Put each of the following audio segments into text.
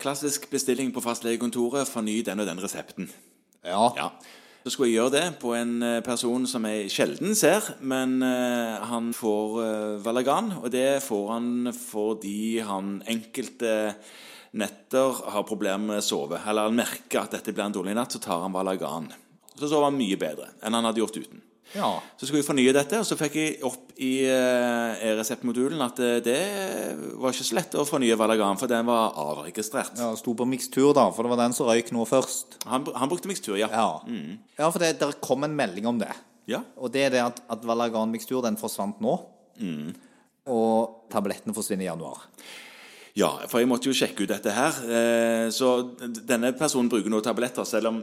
Klassisk bestilling på fastlegekontoret. Forny den og den resepten. Ja. Ja. Så skulle jeg gjøre det på en eh, person som jeg sjelden ser, men eh, han får eh, Valagan, og det får han fordi han enkelte netter har problemer med å sove. Eller han merker at dette blir en dårlig natt, så tar han Valagan. Så sover han mye bedre enn han hadde gjort uten. ja. Så skulle vi fornye dette, og så fikk jeg opp i eh, e-reseptmodulen at eh, det var ikke så lett å fornye Valagan, for den var avregistrert. ja Sto på mikstur, da, for det var den som røyk nå først. Han, han brukte mikstur, ja. Ja, ja for det, der kom en melding om det. Ja. Og det er det at, at Valagan-mikstur, den forsvant nå. Mm. Og tablettene forsvinner i januar. Ja, for jeg måtte jo sjekke ut dette her. Eh, Så denne personen bruker nå tabletter, selv om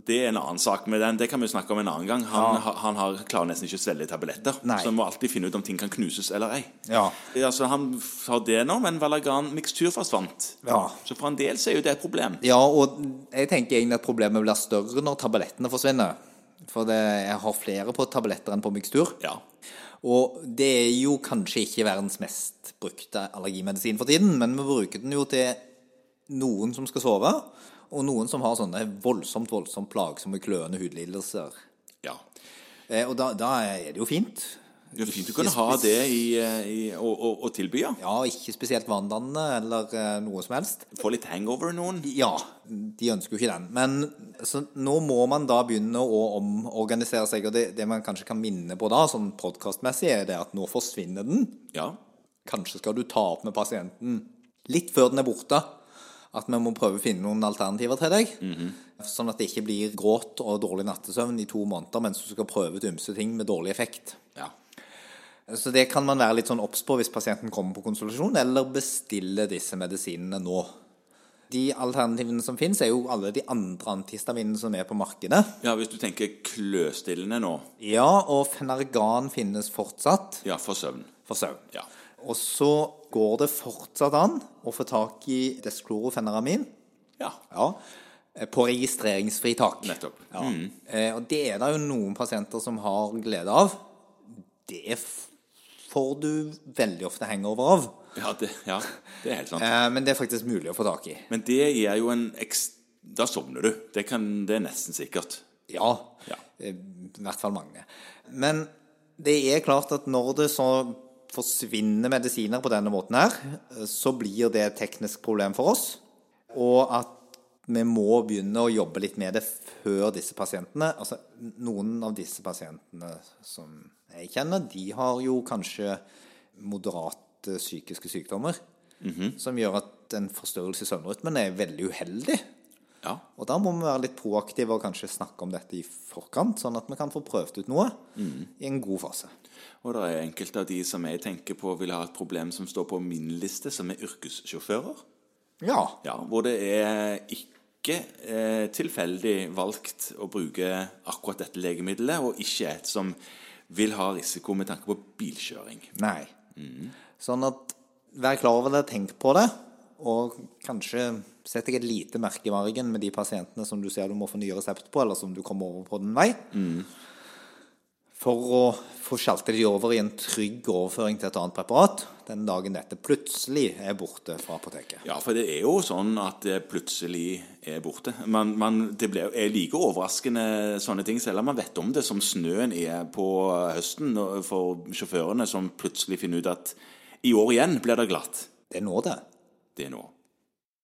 det er en annen sak med den. Det kan vi jo snakke om en annen gang. Han, ha- han har, klarer nesten ikke å svelge tabletter. Nei. Så en må alltid finne ut om ting kan knuses eller ei. Ja. Altså, han f- har det nå, men Valagan-mikstur forsvant. Ja. Så for en del så er jo det et problem. Ja, og jeg tenker egentlig at problemet blir større når tablettene forsvinner. For det, jeg har flere på tabletter enn på mikstur. Ja. Og det er jo kanskje ikke verdens mest brukte allergimedisin for tiden, men vi bruker den jo til noen som skal sove, og noen som har sånne voldsomt, voldsomt plagsomme kløende hudlidelser. ja. Eh, Og da, da er det jo fint. Det er fint å kunne ha det i, eh, i, og, og, og tilby, ja. Ja, ikke spesielt vanndannende eller eh, noe som helst. Få litt hangover noen. Ja, de ønsker jo ikke den. Men så nå må man da begynne å omorganisere seg. Og det, det man kanskje kan minne på da, sånn podkastmessig, er det at nå forsvinner den. Ja. Kanskje skal du ta opp med pasienten litt før den er borte. At vi må prøve å finne noen alternativer til deg. Sånn at det ikke blir gråt og dårlig nattesøvn i to måneder mens du skal prøve ut ymse ting med dårlig effekt. Ja. Så det kan man være litt sånn obs på hvis pasienten kommer på konsultasjon, eller bestiller disse medisinene nå. De alternativene som finnes, er jo alle de andre antihistaminene som er på markedet. ja, hvis du tenker kløstillende nå. Ja, og Fenergan finnes fortsatt Ja, for søvn. for søvn. Ja. Og så går det fortsatt an å få tak i desklorofeneramin Ja. ja, eh, på registreringsfritak. Nettopp. Ja. Eh, Og det er det jo noen pasienter som har glede av. Det f- får du veldig ofte hangover av. Ja, det, ja, det er helt sant. Eh, Men det er faktisk mulig å få tak i. Men det gir jo en ekst... Da sovner du. Det, kan, det er nesten sikkert. Ja. Ja. Eh, I hvert fall mange. Men det er klart at når det så forsvinner medisiner på denne måten her, eh, så blir det et teknisk problem for oss. Og at vi må begynne å jobbe litt med det før disse pasientene Altså noen av disse pasientene som jeg kjenner, de har jo kanskje moderate psykiske sykdommer. Som gjør at en forstørrelse i søvnrytmen er veldig uheldig. Ja. Og da må vi være litt proaktive og kanskje snakke om dette i forkant, sånn at vi kan få prøvd ut noe i en god fase. Og det er enkelte av de som jeg tenker på vil ha et problem som står på min liste, som er yrkessjåfører. Ja. Ja, hvor det er ikke eh, tilfeldig valgt å bruke akkurat dette legemiddelet, og ikke et som vil ha risiko med tanke på bilkjøring. Nei. Sånn at vær klar over det, tenk på det, og kanskje sett deg et lite merke i margen med de pasientene som du ser du må få nye resept på, eller som du kommer over på den vei. For å få sjaltet de over i en trygg overføring til et annet preparat den dagen dette plutselig er borte fra apoteket. Ja, for det er jo sånn at det plutselig er borte. Man, man, det blir, er like overraskende sånne ting, selv om man vet om det, som snøen er på høsten og for sjåførene som plutselig finner ut at i år igjen blir det glatt. Det er nå, det. Det er nå.